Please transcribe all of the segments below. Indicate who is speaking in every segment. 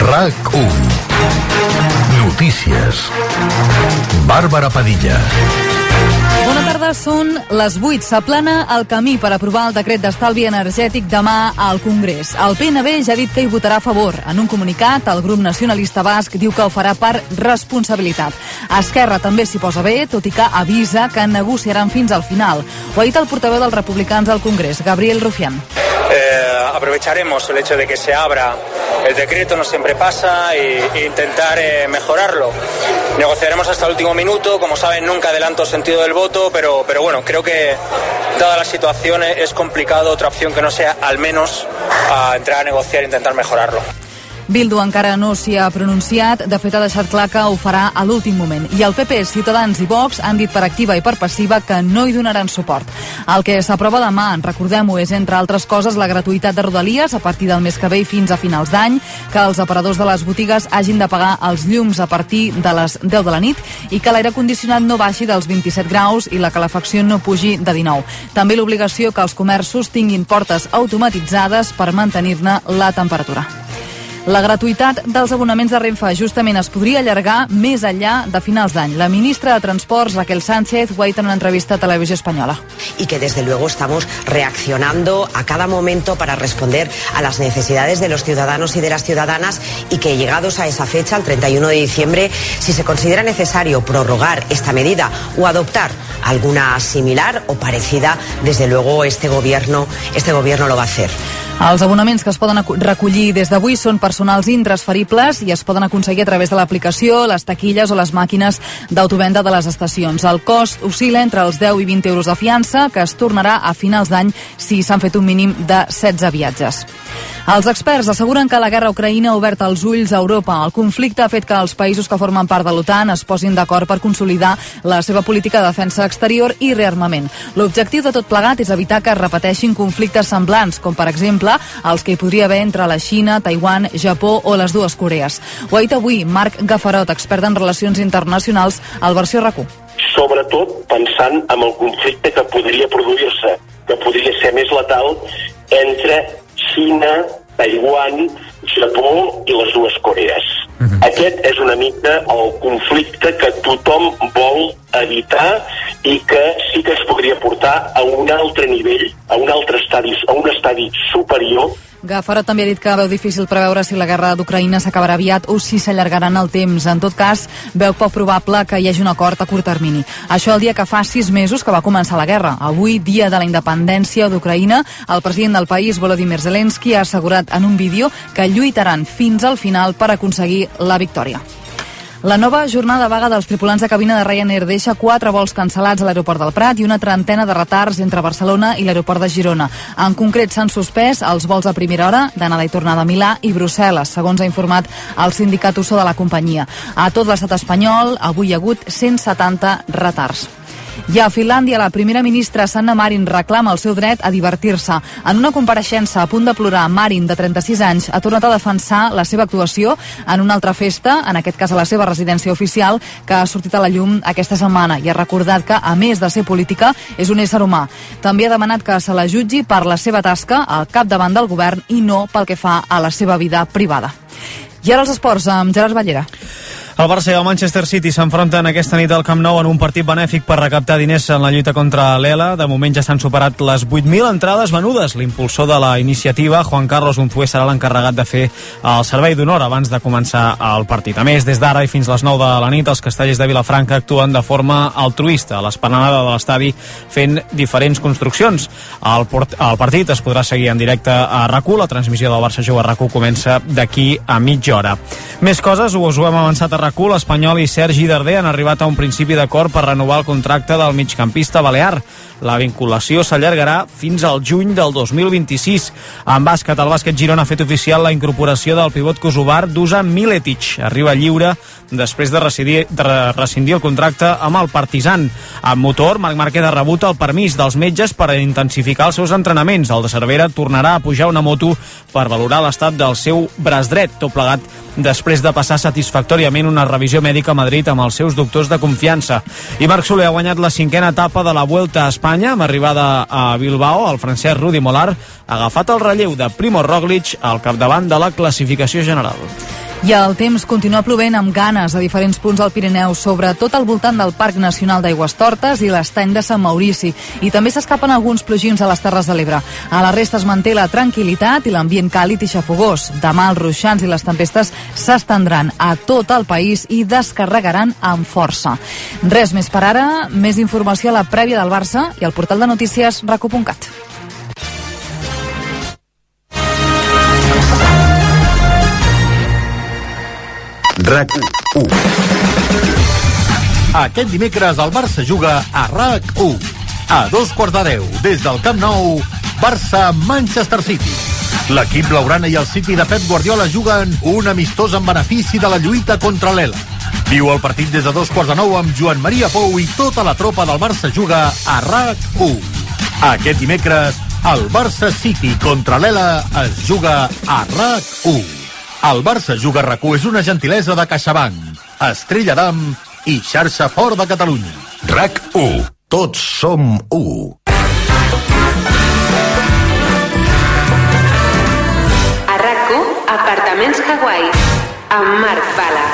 Speaker 1: RAC1 Notícies Bàrbara Padilla
Speaker 2: Bona tarda, són les 8. S'aplana el camí per aprovar el decret d'estalvi energètic demà al Congrés. El PNB ja ha dit que hi votarà a favor. En un comunicat, el grup nacionalista basc diu que ho farà per responsabilitat. Esquerra també s'hi posa bé, tot i que avisa que negociaran fins al final. Ho ha dit el portaveu dels republicans al Congrés, Gabriel Rufián.
Speaker 3: Eh, aprovecharemos el hecho de que se abra el decreto, no siempre pasa, e, e intentar eh, mejorarlo. Negociaremos hasta el último minuto, como saben nunca adelanto sentido del voto, pero, pero bueno, creo que dada la situación eh, es complicado otra opción que no sea al menos a entrar a negociar e intentar mejorarlo.
Speaker 2: Bildu encara no s'hi ha pronunciat, de fet ha deixat clar que ho farà a l'últim moment. I el PP, Ciutadans i Vox han dit per activa i per passiva que no hi donaran suport. El que s'aprova demà, en recordem-ho, és entre altres coses la gratuïtat de Rodalies a partir del mes que ve i fins a finals d'any, que els aparadors de les botigues hagin de pagar els llums a partir de les 10 de la nit i que l'aire condicionat no baixi dels 27 graus i la calefacció no pugi de 19. També l'obligació que els comerços tinguin portes automatitzades per mantenir-ne la temperatura. La gratuïtat dels abonaments de Renfe justament es podria allargar més enllà de finals d'any. La ministra de Transports, Raquel Sánchez, ho ha dit en una entrevista a Televisió Espanyola.
Speaker 4: Y que desde luego estamos reaccionando a cada momento para responder a las necesidades de los ciudadanos y de las ciudadanas y que llegados a esa fecha, el 31 de diciembre, si se considera necesario prorrogar esta medida o adoptar alguna similar o parecida, desde luego este gobierno, este gobierno lo va a hacer.
Speaker 2: Els abonaments que es poden acu- recollir des d'avui són personals intransferibles i es poden aconseguir a través de l'aplicació, les taquilles o les màquines d'autovenda de les estacions. El cost oscil·la entre els 10 i 20 euros de fiança, que es tornarà a finals d'any si s'han fet un mínim de 16 viatges. Els experts asseguren que la guerra a ucraïna ha obert els ulls a Europa. El conflicte ha fet que els països que formen part de l'OTAN es posin d'acord per consolidar la seva política de defensa exterior i rearmament. L'objectiu de tot plegat és evitar que es repeteixin conflictes semblants, com per exemple els que hi podria haver entre la Xina, Taiwan, Japó o les dues Corees. Ho ha dit avui Marc Gafarot, expert en relacions internacionals, al versió RAC1.
Speaker 5: sobretot pensant en el conflicte que podria produir-se, que podria ser més letal entre Xina, Taiwan, Japó i les dues Corees. Aquest és una mica el conflicte que tothom vol evitar i que sí que es podria portar a un altre nivell, a un altre estadi, a un estadi superior
Speaker 2: Gafarot també ha dit que veu difícil preveure si la guerra d'Ucraïna s'acabarà aviat o si s'allargarà en el temps. En tot cas, veu poc probable que hi hagi un acord a curt termini. Això el dia que fa sis mesos que va començar la guerra. Avui, dia de la independència d'Ucraïna, el president del país, Volodymyr Zelensky, ha assegurat en un vídeo que lluitaran fins al final per aconseguir la victòria. La nova jornada de vaga dels tripulants de cabina de Ryanair deixa quatre vols cancel·lats a l'aeroport del Prat i una trentena de retards entre Barcelona i l'aeroport de Girona. En concret, s'han suspès els vols a primera hora d'anada i tornada a Milà i Brussel·les, segons ha informat el sindicat USO de la companyia. A tot l'estat espanyol avui hi ha hagut 170 retards. I a Finlàndia, la primera ministra Sanna Marin reclama el seu dret a divertir-se. En una compareixença a punt de plorar, Marin, de 36 anys, ha tornat a defensar la seva actuació en una altra festa, en aquest cas a la seva residència oficial, que ha sortit a la llum aquesta setmana i ha recordat que, a més de ser política, és un ésser humà. També ha demanat que se la jutgi per la seva tasca al capdavant del govern i no pel que fa a la seva vida privada. I ara els esports amb Gerard Ballera.
Speaker 6: El Barça i el Manchester City s'enfronten aquesta nit al Camp Nou en un partit benèfic per recaptar diners en la lluita contra l'ELA. De moment ja s'han superat les 8.000 entrades venudes. L'impulsor de la iniciativa, Juan Carlos Unzué, serà l'encarregat de fer el servei d'honor abans de començar el partit. A més, des d'ara i fins a les 9 de la nit, els castellers de Vilafranca actuen de forma altruista a l'esplanada de l'estadi fent diferents construccions. El, port el partit es podrà seguir en directe a RAC1. La transmissió del Barça Jove a RAC1 comença d'aquí a mitja hora. Més coses, us ho hem avançat a RAC1. L'Espanyol i Sergi Darder han arribat a un principi d'acord per renovar el contracte del migcampista balear. La vinculació s'allargarà fins al juny del 2026. En bàsquet, el bàsquet Girona ha fet oficial la incorporació del pivot kosovar Dusan Miletic. Arriba lliure després de, residir, de rescindir el contracte amb el Partizan. Amb motor, Marc Márquez ha rebut el permís dels metges per intensificar els seus entrenaments. El de Cervera tornarà a pujar una moto per valorar l'estat del seu braç dret, tot plegat després de passar satisfactòriament una revisió mèdica a Madrid amb els seus doctors de confiança. I Marc Soler ha guanyat la cinquena etapa de la Vuelta a Espanya amb arribada a Bilbao. El francès Rudi Molar ha agafat el relleu de Primo Roglic al capdavant de la classificació general.
Speaker 2: I el temps continua plovent amb ganes a diferents punts del Pirineu, sobretot al voltant del Parc Nacional d'Aigües Tortes i l'estany de Sant Maurici. I també s'escapen alguns plogins a les Terres de l'Ebre. A la resta es manté la tranquil·litat i l'ambient càlid i xafogós. Demà els ruixants i les tempestes s'estendran a tot el país i descarregaran amb força. Res més per ara, més informació a la prèvia del Barça i al portal de notícies raco.cat.
Speaker 1: RAC 1 Aquest dimecres el Barça juga a RAC 1 A dos quarts de deu, des del Camp Nou Barça-Manchester City L'equip blaugrana i el City de Pep Guardiola juguen un amistós en benefici de la lluita contra l'ELA. Viu el partit des de dos quarts de nou amb Joan Maria Pou i tota la tropa del Barça juga a RAC 1. Aquest dimecres, el Barça City contra l'ELA es juga a RAC 1. El Barça Juga rac és una gentilesa de CaixaBank, Estrella d'Am i xarxa fort de Catalunya. RAC 1. Tots som 1.
Speaker 7: A RAC1, Apartaments Hawaii, amb Marc Bala.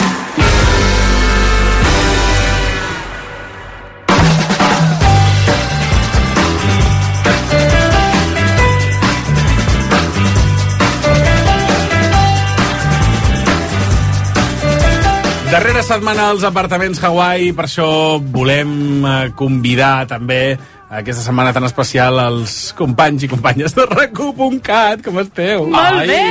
Speaker 8: Darrera setmana als apartaments Hawaii, per això volem eh, convidar també aquesta setmana tan especial els companys i companyes de racu.cat. Com esteu?
Speaker 9: Molt bé!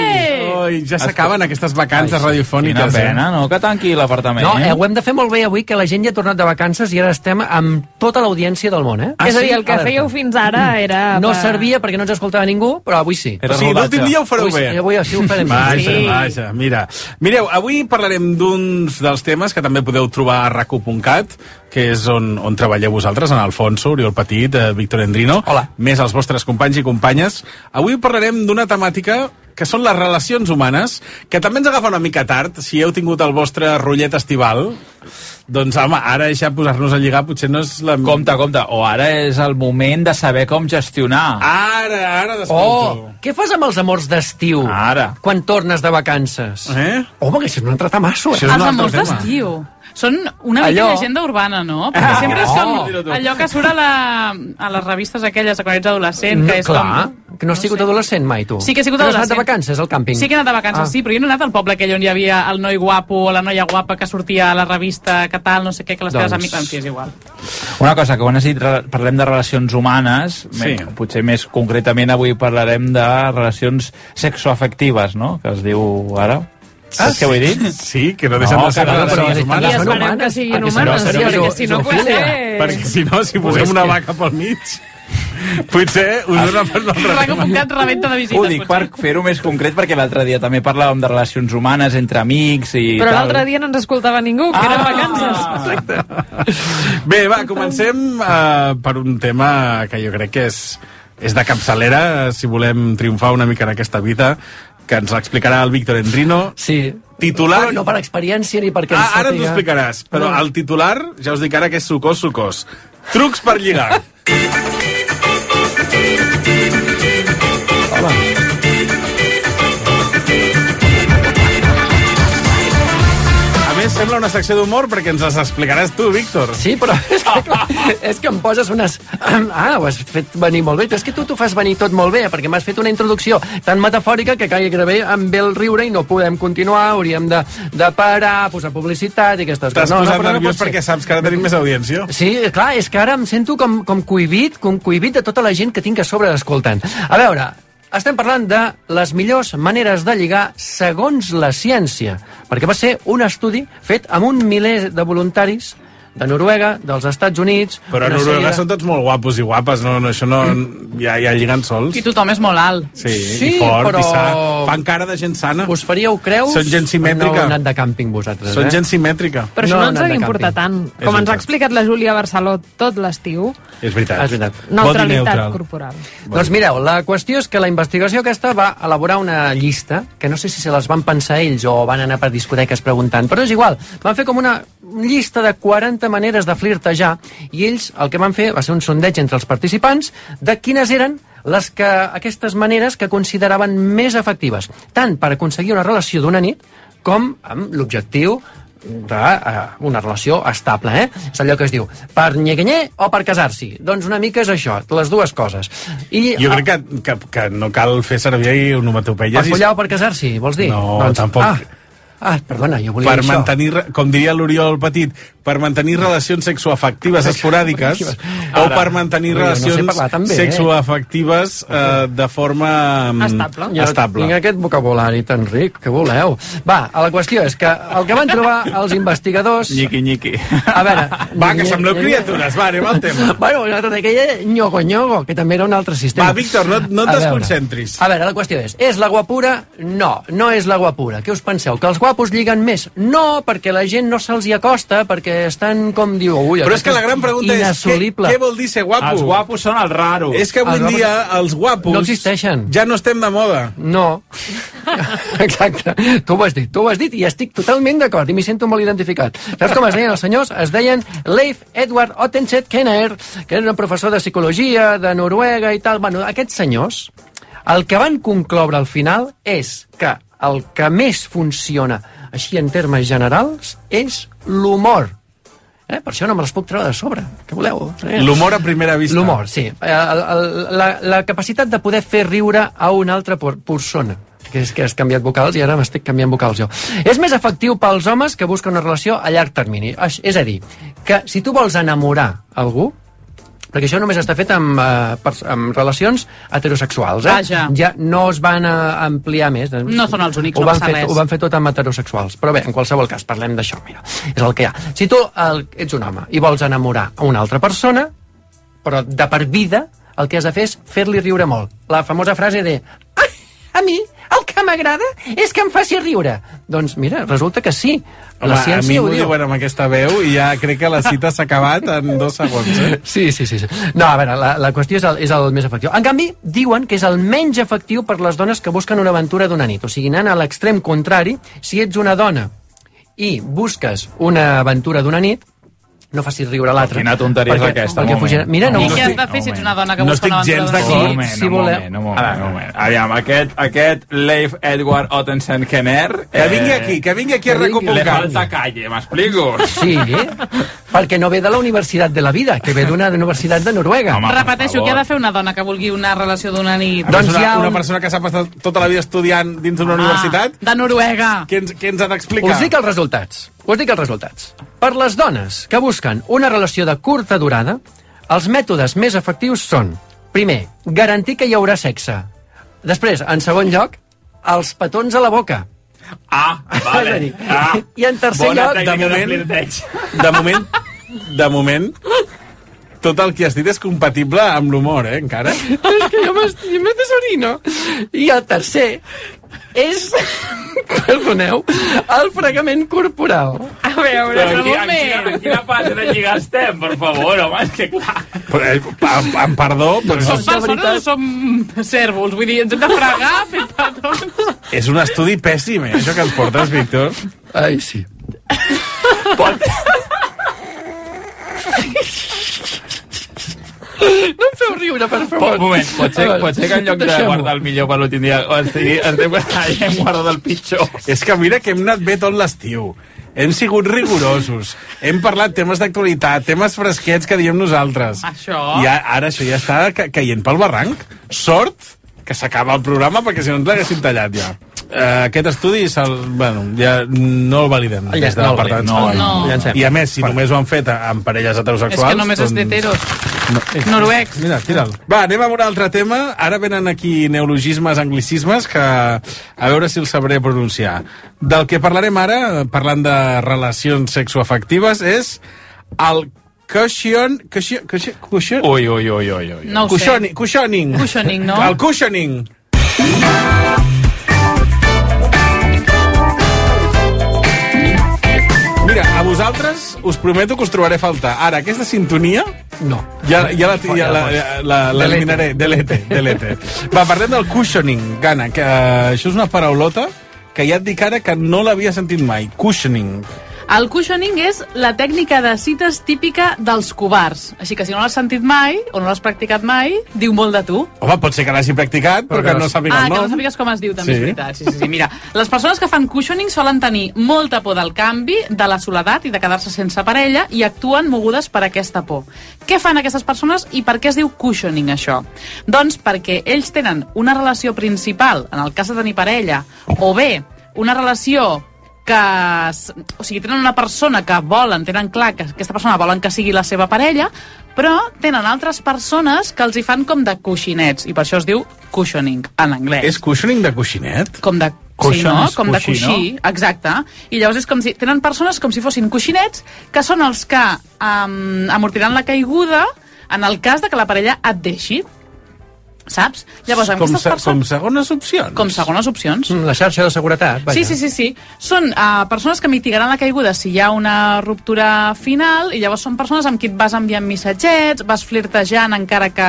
Speaker 8: Ai, ja s'acaben aquestes vacances radiofòniques.
Speaker 10: Quina pena,
Speaker 8: eh?
Speaker 10: no? Que tanqui l'apartament.
Speaker 9: No, eh, ho hem de fer molt bé avui, que la gent ja ha tornat de vacances i ara estem amb tota l'audiència del món, eh?
Speaker 8: Ah,
Speaker 11: és a
Speaker 8: sí?
Speaker 11: dir, el que
Speaker 9: Alerta.
Speaker 11: fèieu fins ara
Speaker 8: Mm.
Speaker 11: era...
Speaker 9: No
Speaker 11: per-
Speaker 9: servia perquè no ens escoltava ningú, però avui sí.
Speaker 10: Era
Speaker 8: o sigui,
Speaker 10: rodatge.
Speaker 8: l'últim dia ho fareu
Speaker 9: avui,
Speaker 8: bé.
Speaker 9: sí, Avui sí ho farem.
Speaker 8: Vaja,
Speaker 11: Sí.
Speaker 8: vaja, mira. Mireu, avui parlarem d'uns dels temes que també podeu trobar a racu.cat, que és on, on treballeu vosaltres, en Alfonso, Oriol Petit, eh, Víctor Endrino,
Speaker 9: Hola.
Speaker 8: més els vostres companys i companyes. Avui parlarem d'una temàtica que són les relacions humanes, que també ens agafa una mica tard, si heu tingut el vostre rotllet estival, doncs home, ara ja posar-nos a lligar potser no és la...
Speaker 10: Compte, compte. O ara és el moment de saber com
Speaker 8: Ah.
Speaker 10: gestionar.
Speaker 8: Ara, ara
Speaker 9: Oh,
Speaker 8: desperto.
Speaker 9: què fas amb els amors d'estiu?
Speaker 10: Ara.
Speaker 9: Quan tornes de vacances?
Speaker 8: Ah. Eh?
Speaker 9: Home, que això és un altre tamasso, eh?
Speaker 8: Això és un
Speaker 11: Els
Speaker 8: altre
Speaker 11: amors
Speaker 8: tema.
Speaker 11: d'estiu. Són una mica
Speaker 9: Allò-
Speaker 11: llegenda urbana, no? Perquè
Speaker 9: Ah,
Speaker 11: sempre és
Speaker 8: Dilo tu.
Speaker 11: com allò que surt a, la, a les revistes aquelles de quan ets adolescent,
Speaker 9: No,
Speaker 11: que és
Speaker 9: clar,
Speaker 11: com...
Speaker 9: que no has sigut adolescent mai, tu.
Speaker 11: Sí que he sigut
Speaker 9: Tu no has
Speaker 11: adolescent.
Speaker 9: anat de vacances al càmping.
Speaker 11: Sí que he anat de vacances,
Speaker 9: Ah.
Speaker 11: sí, però jo no he anat al poble aquell on hi havia el noi guapo o la noia guapa que sortia a la revista, que tal, no sé què, que les
Speaker 9: Doncs-
Speaker 11: teves amics... En fi, és igual.
Speaker 10: Una cosa, que quan has dit re- parlem de relacions humanes,
Speaker 8: Sí.
Speaker 10: me- potser més concretament avui parlarem de relacions sexoafectives, no?, que es diu ara. Ah, Saps què vull dir?
Speaker 8: Sí, que no deixen
Speaker 10: No,
Speaker 8: de ser
Speaker 10: que no,
Speaker 8: relacions
Speaker 10: però
Speaker 9: és-
Speaker 8: humanes.
Speaker 11: I
Speaker 9: són
Speaker 11: esperem que
Speaker 9: humanes,
Speaker 8: Ah,
Speaker 11: siguin
Speaker 9: perquè si no,
Speaker 11: humanes,
Speaker 9: serà
Speaker 11: perquè si no,
Speaker 9: zoofilia.
Speaker 11: pues... eh,
Speaker 8: Perquè si no, si
Speaker 9: és
Speaker 8: posem una
Speaker 9: que-
Speaker 8: vaca pel mig, potser us dona per l'altre
Speaker 11: Clar que
Speaker 8: tema.
Speaker 11: un gat rebenta de visites,
Speaker 10: Ho dic per fer-ho més concret perquè l'altre dia també parlàvem de relacions humanes entre amics i
Speaker 11: Però
Speaker 10: tal.
Speaker 11: l'altre dia no ens escoltava ningú, que eren vacances.
Speaker 8: Bé, va, comencem eh, per un tema que jo crec que és, és de capçalera, eh, si volem triomfar una mica en aquesta vida, que ens l'explicarà el Víctor Endrino.
Speaker 9: Sí.
Speaker 8: Titular-
Speaker 9: Però no per experiència ni perquè...
Speaker 8: Ah, ara ens ho explicaràs, però el titular, ja us dic ara que és sucós, sucós. Trucs per lligar. A més, sembla una secció d'humor perquè ens les explicaràs tu, Víctor.
Speaker 9: Sí, però és que, clar, és que em poses unes... Ah, ho has fet venir molt bé. Però és que tu t'ho fas venir tot molt bé, perquè m'has fet una introducció tan metafòrica que gairebé em ve el riure i no podem continuar, hauríem de, de parar, posar publicitat i aquestes
Speaker 8: T'has
Speaker 9: coses. No, no,
Speaker 8: posat
Speaker 9: però no
Speaker 8: nerviós
Speaker 9: pot ser.
Speaker 8: perquè saps que ara tenim més audiència.
Speaker 9: Sí, clar, és que ara em sento com, com cohibit, com cohibit de tota la gent que tinc a sobre escoltant. A veure, estem parlant de les millors maneres de lligar segons la ciència, perquè va ser un estudi fet amb un miler de voluntaris de Noruega, dels Estats Units...
Speaker 8: Però a
Speaker 9: una
Speaker 8: Noruega
Speaker 9: sèrie
Speaker 8: són tots molt guapos i guapes, no, no, això no... Ja, ja lliguen sols.
Speaker 11: I tothom és molt alt.
Speaker 8: Sí,
Speaker 9: Sí,
Speaker 8: i fort,
Speaker 9: però-
Speaker 8: i sa. Fan cara de gent sana.
Speaker 9: de... Us faríeu creus?
Speaker 8: Són gent simètrica.
Speaker 9: No heu anat de càmping vosaltres,
Speaker 8: Són
Speaker 9: eh?
Speaker 8: gent simètrica.
Speaker 11: Però això
Speaker 9: No, no,
Speaker 11: no, ens ha
Speaker 9: de
Speaker 11: d'importar tant.
Speaker 9: càmping.
Speaker 8: És
Speaker 11: Com ens
Speaker 8: veritat.
Speaker 11: ha explicat la Júlia Barceló tot l'estiu,
Speaker 8: És veritat.
Speaker 9: És veritat.
Speaker 11: neutralitat corporal.
Speaker 9: Doncs mireu, la qüestió és que la investigació aquesta va elaborar una llista, que no sé si se les van pensar ells o van anar per discoteques preguntant, però és igual, van fer com una llista de 40 maneres de flirtejar i ells el que van fer va ser un sondeig entre els participants de quines eren les que, aquestes maneres que consideraven més efectives, tant per aconseguir una relació d'una nit, com amb l'objectiu d'una relació estable, eh? És allò que es diu, per nyeguenyer o per casar-s'hi. Doncs una mica és això, les dues coses. I,
Speaker 8: Jo crec que, que, que no cal fer servir onomatopeies.
Speaker 9: Per
Speaker 8: i-
Speaker 9: follar o per casar-s'hi, vols dir?
Speaker 8: No, tampoc.
Speaker 9: Ah, ah, perdona, jo volia
Speaker 8: per
Speaker 9: dir això. Ah.
Speaker 8: mantenir, re- com diria l'Oriol Petit, per mantenir relacions sexoafectives esporàdiques o
Speaker 9: Ara,
Speaker 8: per mantenir
Speaker 9: jo no sé
Speaker 8: relacions
Speaker 9: parlar tan bé, eh?
Speaker 8: sexoafectives eh, de forma mm,
Speaker 9: Estable. Jo
Speaker 8: estable.
Speaker 9: tinc aquest vocabulari tan ric, que voleu? Va, la qüestió és que el que van trobar els investigadors...
Speaker 10: Nyiqui, nyiqui.
Speaker 9: A veure...
Speaker 8: Va, que sembleu criatures, va, anem al tema.
Speaker 9: Bueno, una altra d'aquella, nyogo, nyogo, que també era un altre sistema.
Speaker 8: Va, Víctor, no- no et
Speaker 9: A veure.
Speaker 8: desconcentris.
Speaker 9: A veure, la qüestió és, és la guapura? No, no és la guapura. Què us penseu? Que els guapos lliguen més? No, perquè la gent no se'ls hi acosta, perquè estan com diu... Ui,
Speaker 8: Però és
Speaker 9: aquest
Speaker 8: que la gran pregunta és, què,
Speaker 9: inassolible.
Speaker 8: què vol dir ser guapo?
Speaker 10: Els guapos són el raro.
Speaker 8: És que
Speaker 9: Els
Speaker 8: avui en
Speaker 9: guapos-
Speaker 8: dia els guapos...
Speaker 9: No existeixen.
Speaker 8: Ja no estem de moda.
Speaker 9: No. Exacte. Tu ho has dit, tu ho has dit i estic totalment d'acord i m'hi sento molt identificat. Saps com es deien els senyors? Es deien Leif Edward Ottenset Kenner, que era un professor de psicologia de Noruega i tal. Bueno, aquests senyors, el que van concloure al final és que el que més funciona així en termes generals és l'humor. Eh? Per això no me les puc treure de sobre. Què voleu? Eh?
Speaker 8: L'humor a primera vista.
Speaker 9: L'humor, sí. El- el- La, la capacitat de poder fer riure a una altra por- persona que és que has canviat vocals i ara m'estic canviant vocals jo. És més efectiu pels homes que busquen una relació a llarg termini. Aix- És a dir, que si tu vols enamorar algú, perquè això només està fet amb, eh, pers- amb relacions heterosexuals, eh?
Speaker 11: Vaja.
Speaker 9: Ja no es van a ampliar més. doncs,
Speaker 11: No són els únics,
Speaker 9: ho
Speaker 11: no
Speaker 9: van
Speaker 11: passa
Speaker 9: fer,
Speaker 11: res.
Speaker 9: Ho van fer tot amb heterosexuals. Però bé, en qualsevol cas, parlem d'això, mira. És el que hi ha. Si tu el, ets un home i vols enamorar a una altra persona, però de per vida el que has de fer és fer-li riure molt. La famosa frase de "Ah, a mi el que m'agrada és que em faci riure. Doncs mira, resulta que sí. La
Speaker 8: Home, a mi
Speaker 9: ciència ho
Speaker 8: m'ho
Speaker 9: diu.
Speaker 8: diuen amb aquesta veu i ja crec que la cita s'ha acabat en dos segons. Eh?
Speaker 9: Sí, sí, sí, sí. No, a veure, la, la qüestió és el, és el més efectiu. En canvi, diuen que és el menys efectiu per les dones que busquen una aventura d'una nit. O sigui, anant a l'extrem contrari, si ets una dona i busques una aventura d'una nit, no facis riure l'altre.
Speaker 10: Quina tonteria és
Speaker 9: perquè-
Speaker 10: aquesta, un
Speaker 9: perquè
Speaker 10: moment.
Speaker 9: fugirà- Mira, no,
Speaker 11: I
Speaker 10: No
Speaker 11: què
Speaker 10: estic-
Speaker 11: has de fer si ets una dona que
Speaker 8: no
Speaker 11: busca una
Speaker 8: estic gens
Speaker 11: aventura
Speaker 8: d'acord.
Speaker 9: Sí,
Speaker 10: Un
Speaker 11: d'una
Speaker 10: moment,
Speaker 9: si
Speaker 10: un
Speaker 9: voleu.
Speaker 10: moment, un moment,
Speaker 9: A veure.
Speaker 10: un moment. Aviam, aquest, aquest Leif Edward Ottensen Kenner...
Speaker 8: Que vingui aquí, que vingui aquí a
Speaker 9: que vingui.
Speaker 10: Le
Speaker 8: recompondre.
Speaker 10: falta calle, m'explico?
Speaker 9: Sí, perquè no ve de la Universitat de la Vida, que ve d'una universitat de Noruega.
Speaker 10: Home,
Speaker 11: Repeteixo,
Speaker 10: per
Speaker 11: què ha de
Speaker 10: favor.
Speaker 11: fer una dona que vulgui una relació d'una nit?
Speaker 9: Doncs
Speaker 8: Doncs una,
Speaker 9: hi ha un-
Speaker 8: una persona que s'ha passat tota la vida estudiant dins d'una universitat,
Speaker 11: Ah, de Noruega.
Speaker 8: què ens, què ens ha d'explicar?
Speaker 9: Us dic els resultats. Us dic els resultats. Per les dones que busquen una relació de curta durada, els mètodes més efectius són, primer, garantir que hi haurà sexe. Després, en segon lloc, els petons a la boca.
Speaker 10: Ah,
Speaker 9: És a
Speaker 10: vale.
Speaker 9: dir,
Speaker 10: Ah,
Speaker 9: I en tercer
Speaker 10: bona
Speaker 9: lloc...
Speaker 10: tècnica de
Speaker 8: moment-
Speaker 10: flirteig.
Speaker 8: De moment, de moment, tot el que has dit és compatible amb l'humor, eh, encara?
Speaker 9: És que jo m'estim de tesorino. I el tercer és... Perdoneu, el fregament corporal.
Speaker 11: A veure,
Speaker 10: Però aquí,
Speaker 11: un
Speaker 10: en, quina, en
Speaker 11: moment.
Speaker 10: quina part de lligar estem, per favor, home, és que clar... Doncs
Speaker 8: Però, eh, amb, amb perdó, però
Speaker 11: Som
Speaker 8: és,
Speaker 11: persones o som cèrvols? Vull dir, ens hem de fregar, fer petons...
Speaker 8: és un estudi pèssim, eh, això que ens portes, Víctor.
Speaker 9: Ai, sí.
Speaker 10: Pot...
Speaker 9: No em feu riure, per favor.
Speaker 10: Un moment, pot ser,
Speaker 9: A veure,
Speaker 10: pot ser que en lloc de
Speaker 9: deixem-ho.
Speaker 10: guardar el millor per l'últim dia, o sigui, estem, hem guardat el pitjor.
Speaker 8: És que mira que hem anat bé tot l'estiu. Hem sigut rigorosos. Hem parlat temes d'actualitat, temes fresquets que diem nosaltres.
Speaker 11: Això.
Speaker 8: I a- ara això ja està ca caient pel barranc. Sort que s'acaba el programa perquè si no ens l'haguessin tallat ja. Uh, aquest estudi se'l, bueno, ja no el validem
Speaker 9: Ah, Ja,
Speaker 8: des de
Speaker 9: no el
Speaker 8: l'apartat.
Speaker 10: validem, no el
Speaker 11: Oh, No.
Speaker 9: Llancem.
Speaker 8: I a més, si només ho han fet a- amb parelles
Speaker 11: És
Speaker 8: heterosexuals... doncs-
Speaker 11: que només és d'heteros. Noruecs.
Speaker 8: Mira, tira'l. Va, anem a un altre tema. Ara venen aquí neologismes, anglicismes, que a veure si els sabré pronunciar. Del que parlarem ara, parlant de relacions sexoafectives, és el cushion... Cushion... Cushion... cushion
Speaker 10: Ui, ui, ui, ui, ui.
Speaker 11: No ho
Speaker 8: cushioning, cushioning.
Speaker 11: Cushioning, no?
Speaker 8: El cushioning. Mira, a vosaltres us prometo que us trobaré a faltar. Ara, aquesta sintonia
Speaker 9: No.
Speaker 8: ja, ja la- ja la- ja la- l'eliminaré. Delete. Delete. Va, parlem del cushioning, Gana, que eh, això és una paraulota que ja et dic ara que no l'havia sentit mai. Cushioning.
Speaker 11: sé. El cushioning és la tècnica de cites típica dels covards. Així que si no l'has sentit mai, o no l'has practicat mai, diu molt de tu.
Speaker 8: Home, pot ser que l'hagi practicat, però, que no sàpiga
Speaker 11: ah,
Speaker 8: el
Speaker 11: que no
Speaker 8: nom.
Speaker 11: sàpigues com es diu, també
Speaker 8: Sí.
Speaker 11: és veritat. Sí, sí, sí. Mira, les persones que fan cushioning solen tenir molta por del canvi, de la soledat i de quedar-se sense parella i actuen mogudes per aquesta por. Què fan aquestes persones i per què es diu cushioning, això? Doncs perquè ells tenen una relació principal, en el cas de tenir parella, o bé una relació que, s- o sigui, tenen una persona que volen, tenen clar que aquesta persona volen que sigui la seva parella, però tenen altres persones que els hi fan com de coixinets, i per això es diu cushioning, en anglès.
Speaker 8: És cushioning de coixinet?
Speaker 11: Com de
Speaker 8: Coixon
Speaker 11: sí, no?
Speaker 8: és
Speaker 11: Com de
Speaker 8: coixí,
Speaker 11: coixí, exacte. I llavors és com si, tenen persones com si fossin coixinets que són els que um, amortiran la caiguda en el cas de que la parella et deixi. Saps? Llavors, amb
Speaker 9: Com
Speaker 11: aquestes
Speaker 9: se- com
Speaker 11: persones...
Speaker 8: segones opcions? Mm.
Speaker 11: Com segones opcions.
Speaker 9: La xarxa de seguretat, vaja.
Speaker 11: Sí, sí, sí, sí. Són uh, persones que mitigaran la caiguda si hi ha una ruptura final i llavors són persones amb qui et vas enviant missatgets, vas flirtejant encara que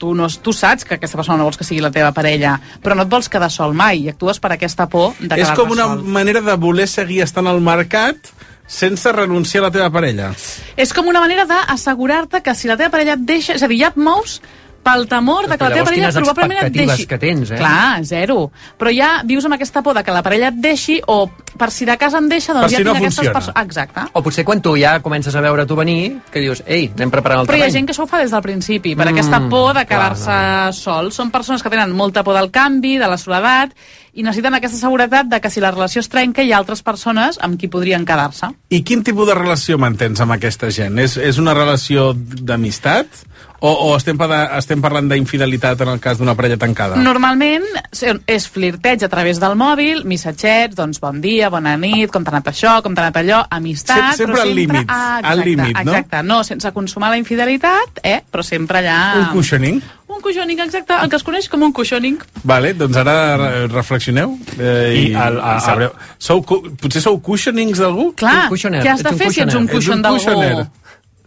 Speaker 11: tu, no, tu saps que aquesta persona no vols que sigui la teva parella, però no et vols quedar sol mai i actues per aquesta por de
Speaker 8: És
Speaker 11: quedar-te
Speaker 8: com una
Speaker 11: sol.
Speaker 8: manera de voler seguir estant al mercat sense renunciar a la teva parella.
Speaker 11: És com una manera d'assegurar-te que si la teva parella et deixa... És a dir, ja et mous pel temor de que la
Speaker 9: Però
Speaker 11: teva
Speaker 9: llavors
Speaker 11: parella
Speaker 9: quines
Speaker 11: probablement et
Speaker 9: expectatives
Speaker 11: deixi.
Speaker 9: que tens, eh?
Speaker 11: Clar, zero. Però ja vius amb aquesta por de que la parella et deixi o per si de casa em deixa, doncs
Speaker 9: Per
Speaker 11: ja
Speaker 9: si no
Speaker 11: tinc aquestes
Speaker 9: funciona.
Speaker 11: persones... Exacte.
Speaker 9: Ah. O potser quan tu ja comences a veure tu venir, que dius, ei, anem preparant el
Speaker 11: Però hi ha
Speaker 9: terreny.
Speaker 11: gent que això ho fa des del principi, per
Speaker 9: Mm,
Speaker 11: aquesta por de
Speaker 9: clar,
Speaker 11: quedar-se sol. Són persones que tenen molta por del canvi, de la soledat, i necessiten aquesta seguretat de que si la relació es trenca hi ha altres persones amb qui podrien quedar-se.
Speaker 8: I quin tipus de relació mantens amb aquesta gent? És, és una relació d'amistat? O, o estem, pa- estem parlant d'infidelitat en el cas d'una parella tancada?
Speaker 11: Normalment són- és flirteig a través del mòbil, missatgets, doncs bon dia, bona nit, com t'ha anat això, com t'ha anat allò, amistat...
Speaker 8: Sempre
Speaker 11: però
Speaker 8: al límit,
Speaker 11: Ah,
Speaker 8: al
Speaker 11: exacte,
Speaker 8: límit, no?
Speaker 11: Exacte, no, sense consumar la infidelitat, eh? però sempre allà...
Speaker 8: Un cushioning?
Speaker 11: Un cushioning, exacte, el que es coneix com un cushioning.
Speaker 8: Vale, doncs ara eh, reflexioneu eh, i,
Speaker 10: I
Speaker 8: I
Speaker 10: el- a-
Speaker 8: sabreu. Sou, cu- potser sou cushionings d'algú?
Speaker 11: Clar, què has de fer si ets un cuixon d'algú?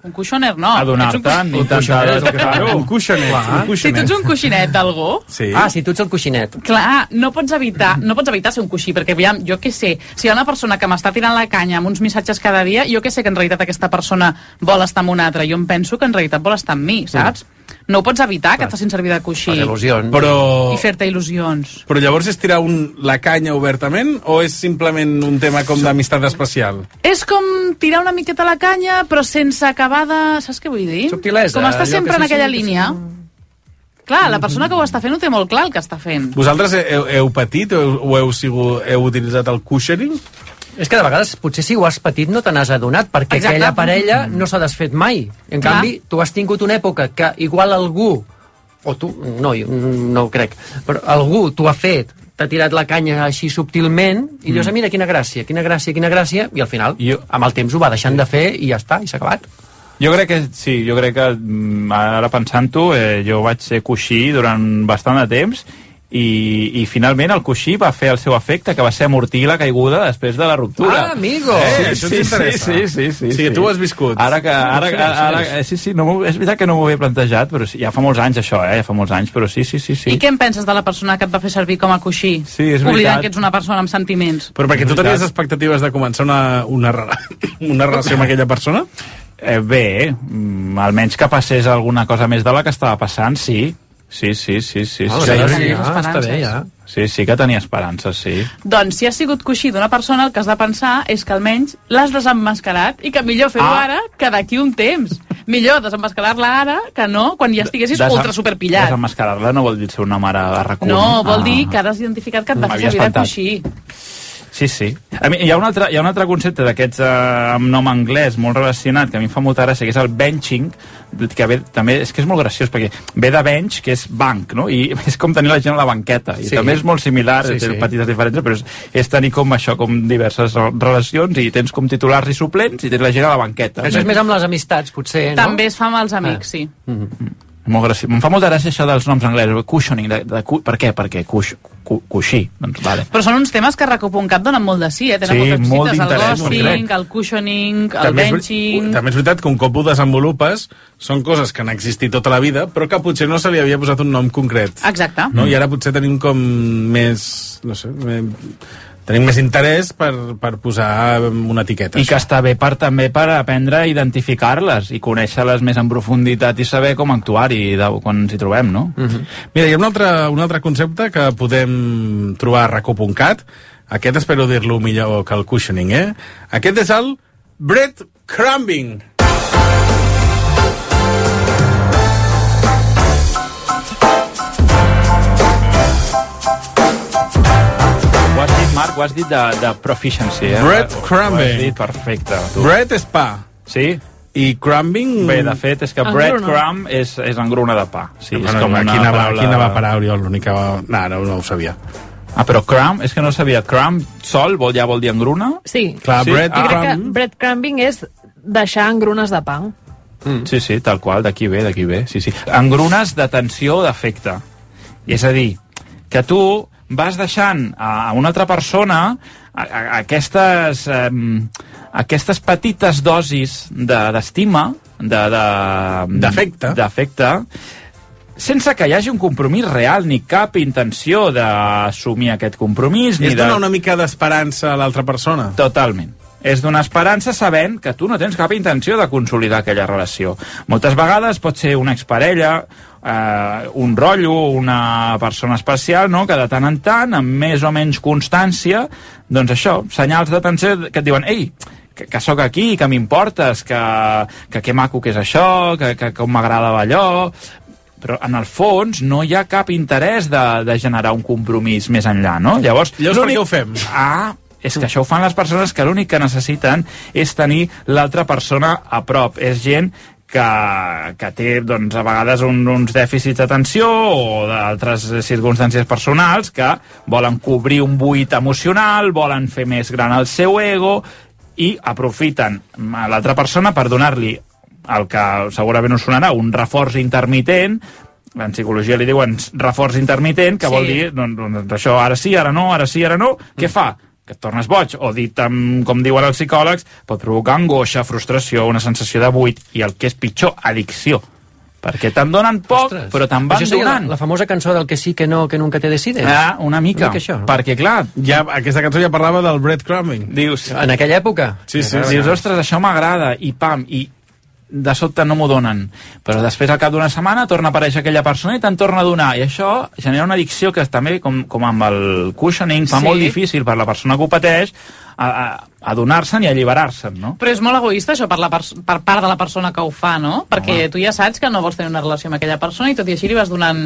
Speaker 11: Un cuixoner, no. Ets un cuix-
Speaker 10: Adonar-te'n, intentar...
Speaker 8: Un cuixoner, un
Speaker 11: Si tu ets un coixinet d'algú,
Speaker 8: Sí.
Speaker 9: Ah, si tu ets el coixinet.
Speaker 11: clar, no pots evitar, no pots evitar ser un coixí, perquè aviam, jo què sé, si hi ha una persona que m'està tirant la canya amb uns missatges cada dia, jo què sé que en realitat aquesta persona vol estar amb una altra, jo em penso que en realitat vol estar amb mi, saps? No ho pots evitar, que et facin servir de coixí.
Speaker 8: Però,
Speaker 11: I fer-te il·lusions.
Speaker 8: però llavors és tirar un, la canya obertament o és simplement un tema com d'amistat especial?
Speaker 11: És com tirar una miqueta la canya, però sense acabar de... Saps què vull dir?
Speaker 9: Subtilesa,
Speaker 11: Com està
Speaker 9: allò
Speaker 11: sempre
Speaker 9: que
Speaker 11: en
Speaker 9: sí, sí,
Speaker 11: aquella
Speaker 9: que sí.
Speaker 11: línia. Clar, la persona que ho està fent ho té molt clar, el que està fent.
Speaker 8: Vosaltres heu, heu patit o heu, o heu, sigut, heu utilitzat el cushioning?
Speaker 9: És que de vegades, potser si ho has patit, no te n'has adonat, perquè
Speaker 11: Exacte.
Speaker 9: Exacte.
Speaker 11: Mm.
Speaker 9: aquella parella no s'ha desfet mai. En
Speaker 11: Clar.
Speaker 9: canvi, tu has tingut una època que igual algú, o tu, no, jo no ho crec, però algú t'ho ha fet, t'ha tirat la canya així subtilment, i dius, mm. mira, quina gràcia, quina gràcia, quina gràcia, i al final,
Speaker 10: Jo-
Speaker 9: amb el temps ho va deixant de fer i ja està, i s'ha acabat.
Speaker 10: Jo crec que sí, jo crec que mm, ara pensant-ho, eh, jo vaig ser coixí durant bastant de temps i, i finalment el coixí va fer el seu efecte, que va ser amortir la caiguda després de la ruptura.
Speaker 9: Ah, amigo!
Speaker 10: Eh,
Speaker 8: Sí,
Speaker 10: sí,
Speaker 8: sí,
Speaker 10: sí, sí,
Speaker 8: sí,
Speaker 10: sí, sí, sí,
Speaker 8: Sí, tu ho has viscut.
Speaker 10: Ara que... Ara,
Speaker 9: Sí,
Speaker 10: ara, ara,
Speaker 9: sí.
Speaker 10: eh, sí, sí, no m'ho- és veritat que no m'ho havia plantejat, però sí, ja fa molts anys això, eh? Ja fa molts anys, però sí, sí, sí. sí.
Speaker 11: I què en penses de la persona que et va fer servir com a coixí?
Speaker 10: Sí, és
Speaker 11: Oblidant
Speaker 10: veritat.
Speaker 11: que ets una persona amb sentiments.
Speaker 8: Però perquè tu
Speaker 10: Veritat.
Speaker 8: tenies expectatives de començar una, una, rela una relació amb aquella persona?
Speaker 10: Eh, bé, mm, almenys que passés alguna cosa més de la que estava passant, sí. Sí, sí, sí, sí.
Speaker 9: Ah,
Speaker 10: sí,
Speaker 9: ja,
Speaker 10: sí,
Speaker 11: tenies
Speaker 9: ja, està bé,
Speaker 11: esperances.
Speaker 9: ja.
Speaker 10: sí, sí que tenia esperances, sí.
Speaker 11: Doncs si has sigut coixí d'una persona, el que has de pensar és que almenys l'has desenmascarat i que millor fer-ho
Speaker 10: Ah.
Speaker 11: ara que d'aquí un temps. Millor desenmascarar-la ara que no quan ja estiguessis
Speaker 10: Desa-
Speaker 11: ultra superpillat.
Speaker 10: Desenmascarar-la no vol dir el seu nom ara a rac
Speaker 11: No,
Speaker 8: Ah.
Speaker 11: vol dir que ara has identificat que et va fer
Speaker 10: M'havia
Speaker 11: servir de
Speaker 10: espantat.
Speaker 11: coixí.
Speaker 10: Ah. Sí, sí. A mi, hi, ha un altre, hi ha un altre concepte d'aquests eh, amb nom anglès molt relacionat que a mi em fa molta gràcia, que és el benching, que ve, també és que és molt graciós, perquè ve de bench, que és banc, no? I és com tenir la gent a la banqueta. I
Speaker 9: Sí.
Speaker 10: sí. també és molt similar,
Speaker 9: Sí,
Speaker 10: sí, té
Speaker 9: sí.
Speaker 10: sí. petites diferències, però és, és tenir com això, com diverses re- relacions, i tens com titulars i suplents, i tens la gent a la banqueta.
Speaker 9: Això és més amb les amistats, potser, no?
Speaker 11: Mm. També es fa amb els
Speaker 8: Ah.
Speaker 11: amics, sí.
Speaker 10: Molt graciós. Em fa molta gràcia això dels noms anglesos. Cushioning, de, de, cu- per què? Perquè cuix, cu, coixí. Doncs vale.
Speaker 11: Però són uns temes que Recopuntcap donen molt de sí, eh? Tenen
Speaker 10: Sí,
Speaker 11: moltes
Speaker 10: molt
Speaker 11: visites, el
Speaker 10: d'interès,
Speaker 11: ghosting,
Speaker 10: molt
Speaker 11: el cushioning, el
Speaker 8: També és ver-
Speaker 11: benching...
Speaker 8: també és veritat que un cop ho desenvolupes són coses que han existit tota la vida però que potser no se li havia posat un nom concret.
Speaker 11: Exacte.
Speaker 8: No? I ara potser tenim com més... No sé, me- tenim més interès per, per posar una etiqueta.
Speaker 10: I que està bé per, també per aprendre a identificar-les i conèixer-les més en profunditat i saber com actuar-hi de- quan ens hi trobem, no?
Speaker 8: Mm -hmm. Mira, hi ha un altre, un altre concepte que podem trobar a racó.cat. Aquest espero dir-lo millor que el cushioning, eh? Aquest és el breadcrumbing.
Speaker 10: Ho has dit, Marc, ho has dit de, de proficiency, eh?
Speaker 8: Breadcrumbing.
Speaker 10: Ho has dit perfecte. Tu.
Speaker 8: Bread és pa.
Speaker 10: Sí?
Speaker 8: I crumbing...
Speaker 10: Bé, de fet, és que
Speaker 11: Engruna.
Speaker 10: breadcrumb és, és engruna de pa. Sí, és
Speaker 8: Bueno,
Speaker 10: com una
Speaker 8: aquí anava,
Speaker 10: paraula...
Speaker 8: aquí anava a parar, Oriol, l'únic que... va- No, no, no ho sabia.
Speaker 10: Ah, però crumb, és que no sabia. Crumb sol vol, ja vol dir engruna?
Speaker 12: Sí.
Speaker 8: Clar,
Speaker 10: Sí,
Speaker 8: sí, bread,
Speaker 10: ah.
Speaker 12: Jo crec que
Speaker 8: crumb...
Speaker 12: breadcrumbing és deixar engrunes de pa.
Speaker 10: Mm. Sí, sí, tal qual, d'aquí ve, d'aquí ve. Sí, sí. Engrunes de tensió o d'afecte. És a dir, que tu vas deixant a a una altra persona a, a, aquestes, eh, aquestes petites dosis de- d'estima, de, de,
Speaker 8: D'afecte.
Speaker 10: d'afecte, sense que hi hagi un compromís real ni cap intenció d'assumir aquest compromís ni
Speaker 8: És
Speaker 10: de...
Speaker 8: donar una mica d'esperança a l'altra persona.
Speaker 10: Totalment. És donar esperança sabent que tu no tens cap intenció de consolidar aquella relació. Moltes vegades pot ser una exparella, eh, un rotllo, una persona especial, no? que de tant en tant, amb més o menys constància, doncs això, senyals d'atenció que et diuen «Ei, que, que sóc aquí, que m'importes, que, que que maco que és això, que, que com m'agradava allò...» però en el fons no hi ha cap interès de, de generar un compromís més enllà, no? Llavors,
Speaker 8: Llavors, per
Speaker 10: l'únic-
Speaker 8: què ho fem?
Speaker 10: Ah, és que això ho fan les persones que l'únic que necessiten és tenir l'altra persona a prop. És gent que, que té doncs, a vegades un, uns dèficits d'atenció o d'altres circumstàncies personals que volen cobrir un buit emocional, volen fer més gran el seu ego i aprofiten a l'altra persona per donar-li el que segurament us sonarà, un reforç intermitent, en psicologia li diuen reforç intermitent, que
Speaker 12: Sí.
Speaker 10: vol dir doncs, doncs això ara sí, ara no, ara sí, ara no,
Speaker 9: Mm.
Speaker 10: què fa? Que et tornes boig, o dit amb, com diuen els psicòlegs, pot provocar angoixa, frustració, una sensació de buit, i el que és pitjor, addicció. Perquè te'n donen poc,
Speaker 9: Ostres.
Speaker 10: però te'n van
Speaker 9: Això seria
Speaker 10: donant.
Speaker 9: La, la famosa cançó del que sí, que no, que nunca te decides.
Speaker 10: Ah, una mica.
Speaker 9: Una mica això, no?
Speaker 10: Perquè, clar,
Speaker 8: Ja, aquesta cançó ja parlava del breadcrumbing.
Speaker 10: dius...
Speaker 9: En aquella època.
Speaker 8: Sí, sí, sí.
Speaker 10: Dius, ostres, això m'agrada, i pam, i de sobte no m'ho donen. Però després, al cap d'una setmana, torna a aparèixer aquella persona i te'n torna a donar. I això genera una addicció que també, com, com amb el cushioning, fa
Speaker 11: Sí.
Speaker 10: molt difícil per la persona que ho pateix a, a, a donar-se'n i alliberar-se'n, no?
Speaker 11: Però és molt egoista això per, la pers per part de la persona que ho fa, no? Perquè tu ja saps que no vols tenir una relació amb aquella persona i tot i així li vas donant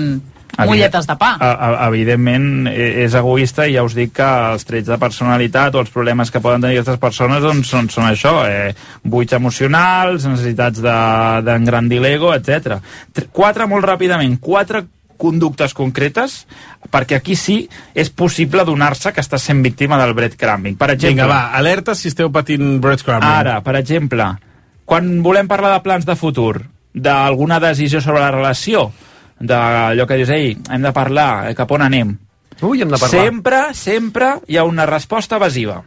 Speaker 11: mulletes de pa.
Speaker 10: A, a, evidentment eh, és egoista i ja us dic que els trets de personalitat o els problemes que poden tenir aquestes persones doncs, són, són això, eh, buits emocionals, necessitats de- d'engrandir de, l'ego, etc. Quatre, molt ràpidament, quatre conductes concretes perquè aquí sí és possible donar-se que estàs sent víctima del breadcrumbing. Per exemple,
Speaker 8: Vinga, va, alerta si esteu patint breadcrumbing.
Speaker 10: Ara, per exemple, quan volem parlar de plans de futur, d'alguna decisió sobre la relació, d'allò que dius, ei, hem de parlar, eh, cap on anem.
Speaker 9: Ui, hem de parlar.
Speaker 10: Sempre, sempre hi ha una resposta evasiva.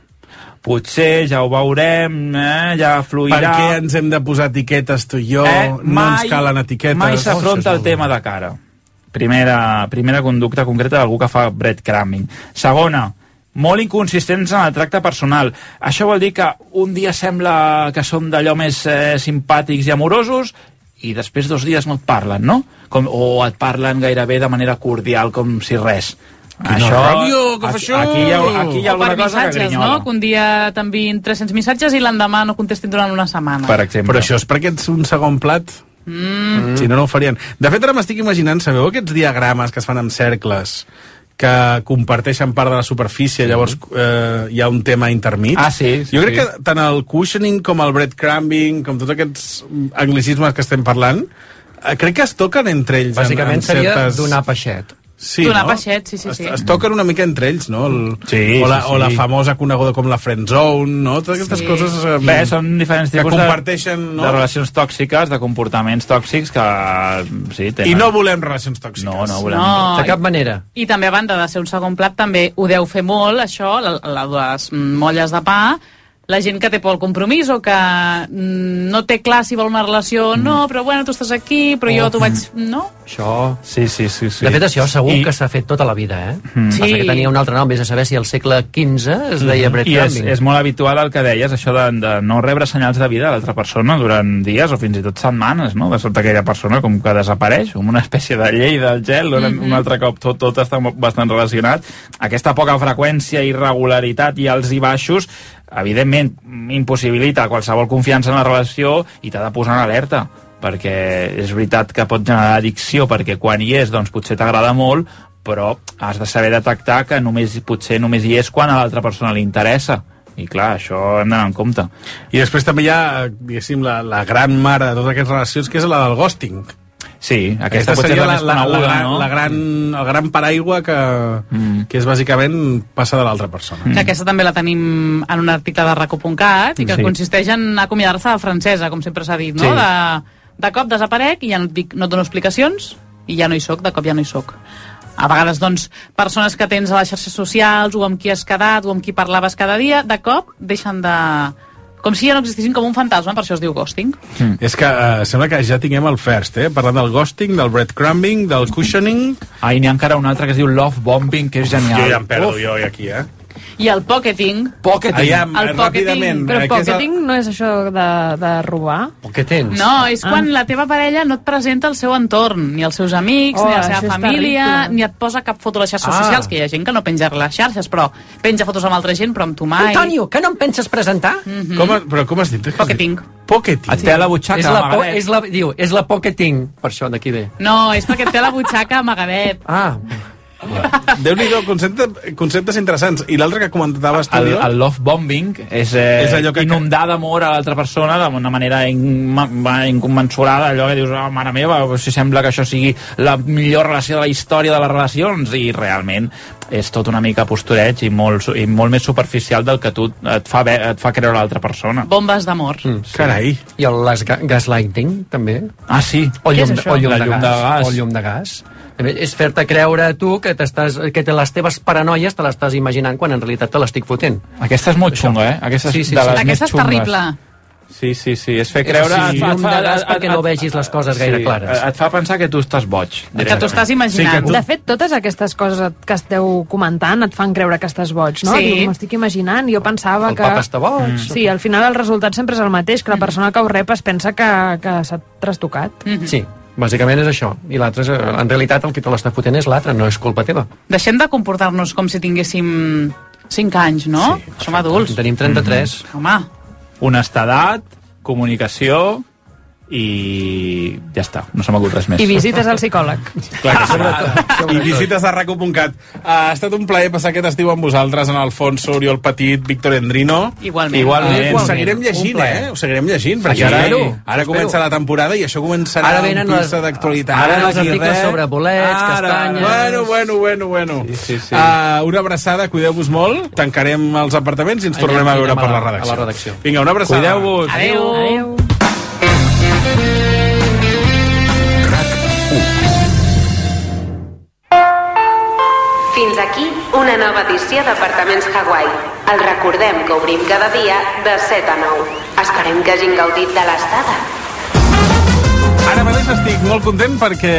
Speaker 10: Potser ja ho veurem, eh, ja fluirà...
Speaker 8: Per què ens hem de posar etiquetes tu i jo? Eh, no ens calen etiquetes.
Speaker 10: Eh, Mai s'afronta el tema de cara. Primera, primera conducta concreta d'algú que fa breadcrumbing. Segona, molt inconsistents en el tracte personal. Això vol dir que un dia sembla que són d'allò més eh, simpàtics i amorosos i després dos dies no et parlen, no? Com, o et parlen gairebé de manera cordial, com si res. Quina
Speaker 8: ràbia, que fa això!
Speaker 10: Aquí hi ha, aquí hi ha
Speaker 11: o per
Speaker 10: alguna cosa que
Speaker 11: missatges,
Speaker 10: grinyola.
Speaker 11: no? Que un dia t'enviïn 300 missatges i l'endemà no contestin durant una setmana.
Speaker 10: Per exemple.
Speaker 8: Però això és perquè ets un segon plat. Mm. Si no, no ho farien. De fet, ara m'estic imaginant, sabeu aquests diagrames que es fan amb cercles que comparteixen part de la superfície, llavors eh, hi ha un tema intermig.
Speaker 10: Ah, sí, sí,
Speaker 8: jo crec
Speaker 10: sí.
Speaker 8: que tant el cushioning com el breadcrumbing, com tots aquests anglicismes que estem parlant, eh, crec que es toquen entre ells. en-
Speaker 9: Bàsicament
Speaker 8: en
Speaker 9: seria
Speaker 8: certes...
Speaker 9: donar peixet.
Speaker 8: Sí,
Speaker 11: Donar peixet, sí, sí,
Speaker 8: Es,
Speaker 11: sí.
Speaker 8: es toquen una mica entre ells, no? El,
Speaker 10: Sí,
Speaker 8: o, la,
Speaker 10: sí, sí.
Speaker 8: o la famosa coneguda com la friend zone, no? Totes aquestes
Speaker 11: Sí.
Speaker 8: coses... eh,
Speaker 10: Bé, són diferents
Speaker 8: que
Speaker 10: tipus
Speaker 8: comparteixen...
Speaker 10: de,
Speaker 8: no?
Speaker 10: eh, de relacions tòxiques, de comportaments tòxics que... Sí, tenen...
Speaker 8: I no volem relacions tòxiques.
Speaker 10: No, no volem.
Speaker 11: No,
Speaker 9: De cap manera.
Speaker 11: I també, a banda de ser un segon plat, també ho deu fer molt, això, la, la, les mm, molles de pa, la gent que té por al compromís o que mm, no té clar si vol una relació o no, però bueno, tu estàs aquí, però jo t'ho vaig... No?
Speaker 9: Això...
Speaker 10: Sí, sí, sí. sí.
Speaker 9: De fet, això segur I... que s'ha fet tota la vida, eh?
Speaker 10: Mm.
Speaker 9: Mm. Sí.
Speaker 10: Sí.
Speaker 9: que tenia un altre nom, és a saber si al segle XV es deia
Speaker 10: Mm-hmm. I és,
Speaker 9: breadcrumbing.
Speaker 10: és molt habitual el que deies, això de, de no rebre senyals de vida de l'altra persona durant dies o fins i tot setmanes, no? De sobte aquella persona com que desapareix, com una espècie de llei del gel, on mm -hmm. un altre cop tot, tot està mo- bastant relacionat. Aquesta poca freqüència, irregularitat i alts i baixos, evidentment, impossibilita qualsevol confiança en la relació i t'ha de posar en alerta perquè és veritat que pot generar addicció perquè quan hi és doncs potser t'agrada molt però has de saber detectar que només potser només hi és quan a l'altra persona li interessa. I clar, això hem d'anar en compte.
Speaker 8: I després també hi ha, diguéssim, la, la gran mare de totes aquestes relacions, que és la del ghosting.
Speaker 10: Sí, aquesta, potser
Speaker 8: seria
Speaker 10: la, més
Speaker 8: la,
Speaker 10: coneguda,
Speaker 8: la, gran,
Speaker 10: no?
Speaker 8: la gran, el gran paraigua que, mm. que és bàsicament passa de l'altra persona.
Speaker 11: que aquesta també la tenim en un article de raco.cat i que
Speaker 8: Sí.
Speaker 11: sí. consisteix en acomiadar-se de la francesa, com sempre s'ha dit, no?
Speaker 8: Sí.
Speaker 11: De, de cop desaparec i ja no, et dic, no et dono explicacions i ja no hi sóc, de cop ja no hi sóc. A vegades, doncs, persones que tens a les xarxes socials o amb qui has quedat o amb qui parlaves cada dia, de cop deixen de... Com si ja no existissin com un fantasma, per això es diu ghosting.
Speaker 8: Mm. És que eh, sembla que ja tinguem el first, eh? Parlant del ghosting, del breadcrumbing, del cushioning...
Speaker 10: Ah, i n'hi ha encara un altre que es diu love bombing, que és genial.
Speaker 8: Jo ja em perdo,
Speaker 10: Uf.
Speaker 8: jo, aquí, eh?
Speaker 11: I el pocketing...
Speaker 8: Pocketing. Aviam,
Speaker 11: el pocketing.
Speaker 8: ràpidament,
Speaker 12: Però pocketing no és això de, de robar?
Speaker 9: Què tens?
Speaker 11: No, és quan
Speaker 12: Ah.
Speaker 11: la teva parella no et presenta el seu entorn, ni els seus amics,
Speaker 12: Oh,
Speaker 11: ni la
Speaker 12: això
Speaker 11: seva
Speaker 12: és
Speaker 11: família,
Speaker 12: terrible.
Speaker 11: ni et posa cap foto a les xarxes
Speaker 9: Ah.
Speaker 11: socials, que hi ha gent que no penja a les xarxes, però penja fotos amb altra gent, però amb tu mai. Mhm.
Speaker 9: Antonio, que no em penses presentar? Mm
Speaker 8: Com, però com has dit? Pocketing.
Speaker 12: Ah,
Speaker 8: Pocketing.
Speaker 10: Et té a la butxaca,
Speaker 9: és la, po
Speaker 10: Magalet.
Speaker 9: és la, diu, és la pocketing, per això d'aquí ve.
Speaker 11: No, és perquè et té la butxaca amagadet.
Speaker 9: Ah,
Speaker 8: Déu-n'hi-do, concepte, conceptes interessants. I l'altre que comentaves tu,
Speaker 10: El,
Speaker 8: Oriol?
Speaker 10: el love bombing és, eh,
Speaker 8: És
Speaker 10: és
Speaker 8: allò
Speaker 10: allò que inundar d'amor a l'altra persona d'una manera in, ma- inconmensurada, allò que dius, oh, mare meva, si sembla que això sigui la millor relació de la història de les relacions, i realment és tot una mica postureig i molt, su- i molt més superficial del que tu et fa, ve, et fa creure l'altra persona.
Speaker 11: Bombes d'amor. Mm,
Speaker 8: Carai.
Speaker 9: I el les ga- gaslighting, també.
Speaker 10: Ah, sí.
Speaker 9: O
Speaker 10: Què
Speaker 9: llum,
Speaker 10: és això?
Speaker 9: o llum,
Speaker 10: La
Speaker 9: de,
Speaker 10: llum
Speaker 9: gas,
Speaker 10: de gas.
Speaker 9: O llum de gas. També és fer-te creure a tu que, t'estàs- que te les teves paranoies te les estàs imaginant quan en realitat te l'estic fotent.
Speaker 10: Aquesta és molt xunga, eh? Aquesta és
Speaker 9: Sí, sí,
Speaker 10: de
Speaker 9: sí.
Speaker 10: les
Speaker 9: Aquesta
Speaker 10: més
Speaker 9: és terrible.
Speaker 10: xungues. Sí, sí, sí, és fer creure...
Speaker 9: Sí,
Speaker 10: et fa- et
Speaker 9: llum
Speaker 10: fa-
Speaker 9: de gas
Speaker 10: et-
Speaker 9: perquè
Speaker 10: et-
Speaker 9: no vegis les coses gaire
Speaker 10: sí, eh,
Speaker 9: clares.
Speaker 10: Et fa pensar que tu estàs boig.
Speaker 11: Que t'ho estàs imaginant.
Speaker 12: De fet, totes aquestes coses que esteu comentant et fan creure que estàs boig, no?
Speaker 11: Sí.
Speaker 12: Dius, m'estic imaginant, jo pensava
Speaker 9: El
Speaker 12: que...
Speaker 9: papa està boig. Mm.
Speaker 12: Sí, al final el resultat sempre és el mateix, que la persona que ho rep es pensa que, que s'ha trastocat.
Speaker 10: Mm.
Speaker 9: Sí, bàsicament és això. I l'altre, és, eh, en realitat, el que te l'està fotent és l'altre, no és culpa teva.
Speaker 11: Deixem de comportar-nos com si tinguéssim 5 anys, no? Sí, Som adults.
Speaker 9: Tenim
Speaker 2: Mm.
Speaker 9: 33.
Speaker 11: Home,
Speaker 10: honestedat, comunicació i ja està, no se m'acut res més.
Speaker 12: I visites al psicòleg.
Speaker 8: Clar que sí. I visites a raco.cat. Ha estat un plaer passar aquest estiu amb vosaltres, en Alfonso, Oriol Petit, Víctor Endrino.
Speaker 11: Igualment.
Speaker 8: Igualment.
Speaker 11: Igualment.
Speaker 8: Ho seguirem
Speaker 9: Un
Speaker 8: llegint,
Speaker 9: plaer.
Speaker 8: eh? Ho seguirem llegint, perquè
Speaker 9: Ho
Speaker 8: ara,
Speaker 9: espero,
Speaker 8: ara
Speaker 9: ho
Speaker 8: comença
Speaker 9: espero.
Speaker 8: la temporada i això començarà
Speaker 9: Ara
Speaker 8: amb
Speaker 9: venen
Speaker 8: pista
Speaker 9: les-
Speaker 8: d'actualitat.
Speaker 9: ara venen els
Speaker 8: aquí
Speaker 9: articles
Speaker 8: res.
Speaker 9: sobre bolets,
Speaker 8: Ara,
Speaker 9: castanyes.
Speaker 8: Bueno, bueno, bueno, bueno. Sí, sí, sí. Uh, una abraçada, cuideu-vos molt, tancarem els apartaments i ens
Speaker 9: Anem,
Speaker 8: tornem a veure
Speaker 9: anem a
Speaker 8: per
Speaker 9: la-
Speaker 8: la
Speaker 9: a la
Speaker 8: redacció.
Speaker 9: redacció.
Speaker 8: Vinga, una abraçada.
Speaker 10: Cuideu-vos.
Speaker 11: adeu.
Speaker 12: Adéu.
Speaker 7: Fins aquí una nova edició d'Apartaments Hawaii. El recordem que obrim cada dia de 7 a 9. Esperem que hagin gaudit de l'estada.
Speaker 8: Ara mateix estic molt content perquè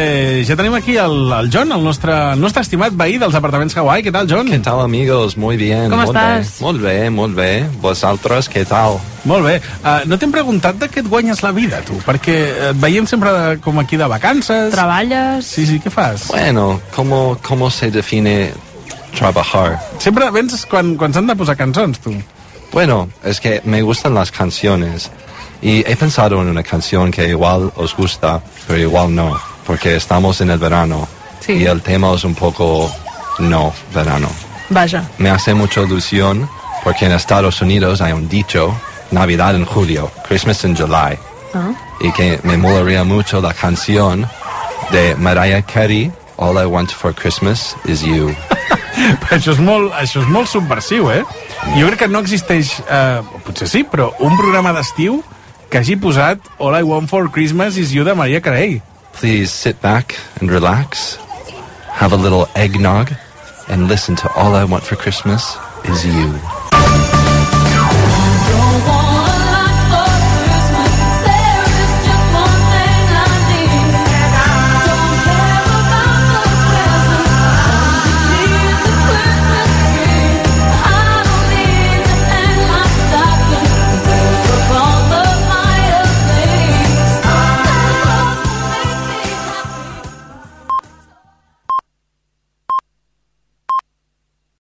Speaker 8: ja tenim aquí el, el John, el nostre, el nostre estimat veí dels apartaments Hawaii. Què tal, John?
Speaker 13: ¿Qué tal, amigos? Muy bien.
Speaker 12: ¿Cómo
Speaker 13: muy
Speaker 12: estás?
Speaker 13: Bien. Muy bien, muy bien. ¿Vosotros qué tal?
Speaker 8: Molt bé. Uh, no t'hem preguntat de què et guanyes la vida, tu, perquè et veiem sempre de, com aquí de vacances.
Speaker 12: Treballes...
Speaker 8: Sí, sí, què fas?
Speaker 13: Bueno, ¿cómo, cómo se define trabajar?
Speaker 8: Sempre vens quan, quan s'han de posar cançons, tu.
Speaker 13: Bueno, es que me gustan las canciones. Y he pensado en una canción que igual os gusta, pero igual no, porque estamos en el verano.
Speaker 12: Sí.
Speaker 13: Y el tema es un poco no verano.
Speaker 12: Vaja.
Speaker 13: Me hace mucha ilusión porque en Estados Unidos hay un dicho, Navidad en julio, Christmas in July.
Speaker 12: Ah.
Speaker 13: y que me molaría mucho la canción de Mariah Carey, All I Want for Christmas Is You.
Speaker 8: Però això és molt, això és molt subversiu, eh? Jo crec que no existeix, eh, potser sí, però un programa d'estiu que hagi posat All I Want for Christmas is You de Maria Carey.
Speaker 13: Please sit back and relax, have a little eggnog, and listen to All I Want for Christmas Is You.